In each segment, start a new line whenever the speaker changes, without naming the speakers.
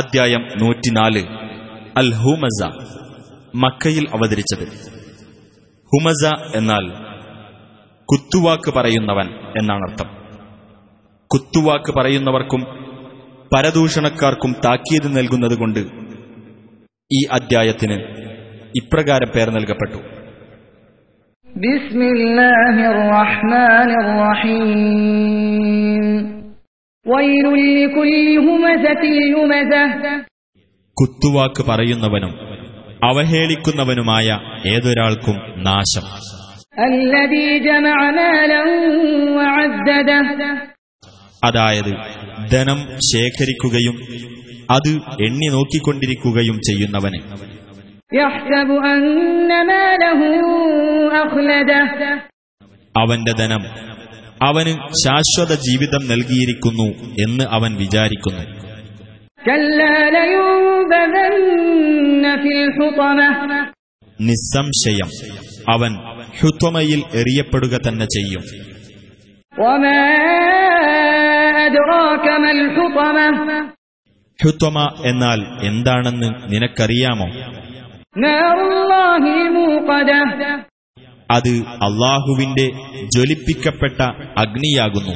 അദ്ധ്യായം നൂറ്റിനാല് അൽ ഹുമസ മക്കയിൽ അവതരിച്ചത് ഹുമസ എന്നാൽ കുത്തുവാക്ക് പറയുന്നവൻ എന്നാണർത്ഥം കുത്തുവാക്ക് പറയുന്നവർക്കും പരദൂഷണക്കാർക്കും താക്കീത് നൽകുന്നതുകൊണ്ട് ഈ അദ്ധ്യായത്തിന് ഇപ്രകാരം പേർ നൽകപ്പെട്ടു
بسم الله الرحمن الرحيم ويل لكل همزة يمزة
കുത്തുവാക്ക് പറയുന്നവനും അവഹേളിക്കുന്നവനുമായ ഏതൊരാൾക്കും നാശം
الذي جمع مالا وعدده
അതായത് ധനം ശേഖരിക്കുകയും അത് എണ്ണി നോക്കിക്കൊണ്ടിരിക്കുകയും ചെയ്യുന്നവന്
يحسب أن ماله أخلده
അവന്റെ ധനം അവന് ശാശ്വത ജീവിതം നൽകിയിരിക്കുന്നു എന്ന് അവൻ വിചാരിക്കുന്നു
كلا لينبذن في الحطمة
നിസ്സംശയം അവൻ ഹുത്വമയിൽ എറിയപ്പെടുക തന്നെ ചെയ്യും
وما أدراك ما الحطمة
ഹുത്വമ എന്നാൽ എന്താണെന്ന് നിനക്കറിയാമോ
نار الله الموقدة
അത് അള്ളാഹുവിന്റെ ജ്വലിപ്പിക്കപ്പെട്ട അഗ്നിയാകുന്നു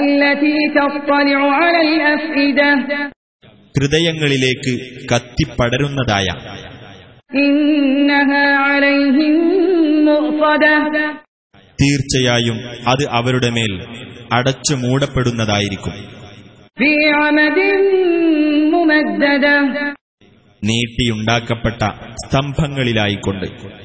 التي تطلع على الأفئدة
ഹൃദയങ്ങളിലേക്ക് കത്തിപ്പടരുന്നതായ
إنها عليهم مؤصدة
തീർച്ചയായും അത് അവരുടെ മേൽ അടച്ചു മൂടപ്പെടുന്നതായിരിക്കും
في عمد ممددة
നീട്ടിയുണ്ടാക്കപ്പെട്ട സ്തംഭങ്ങളിലായിക്കൊണ്ട്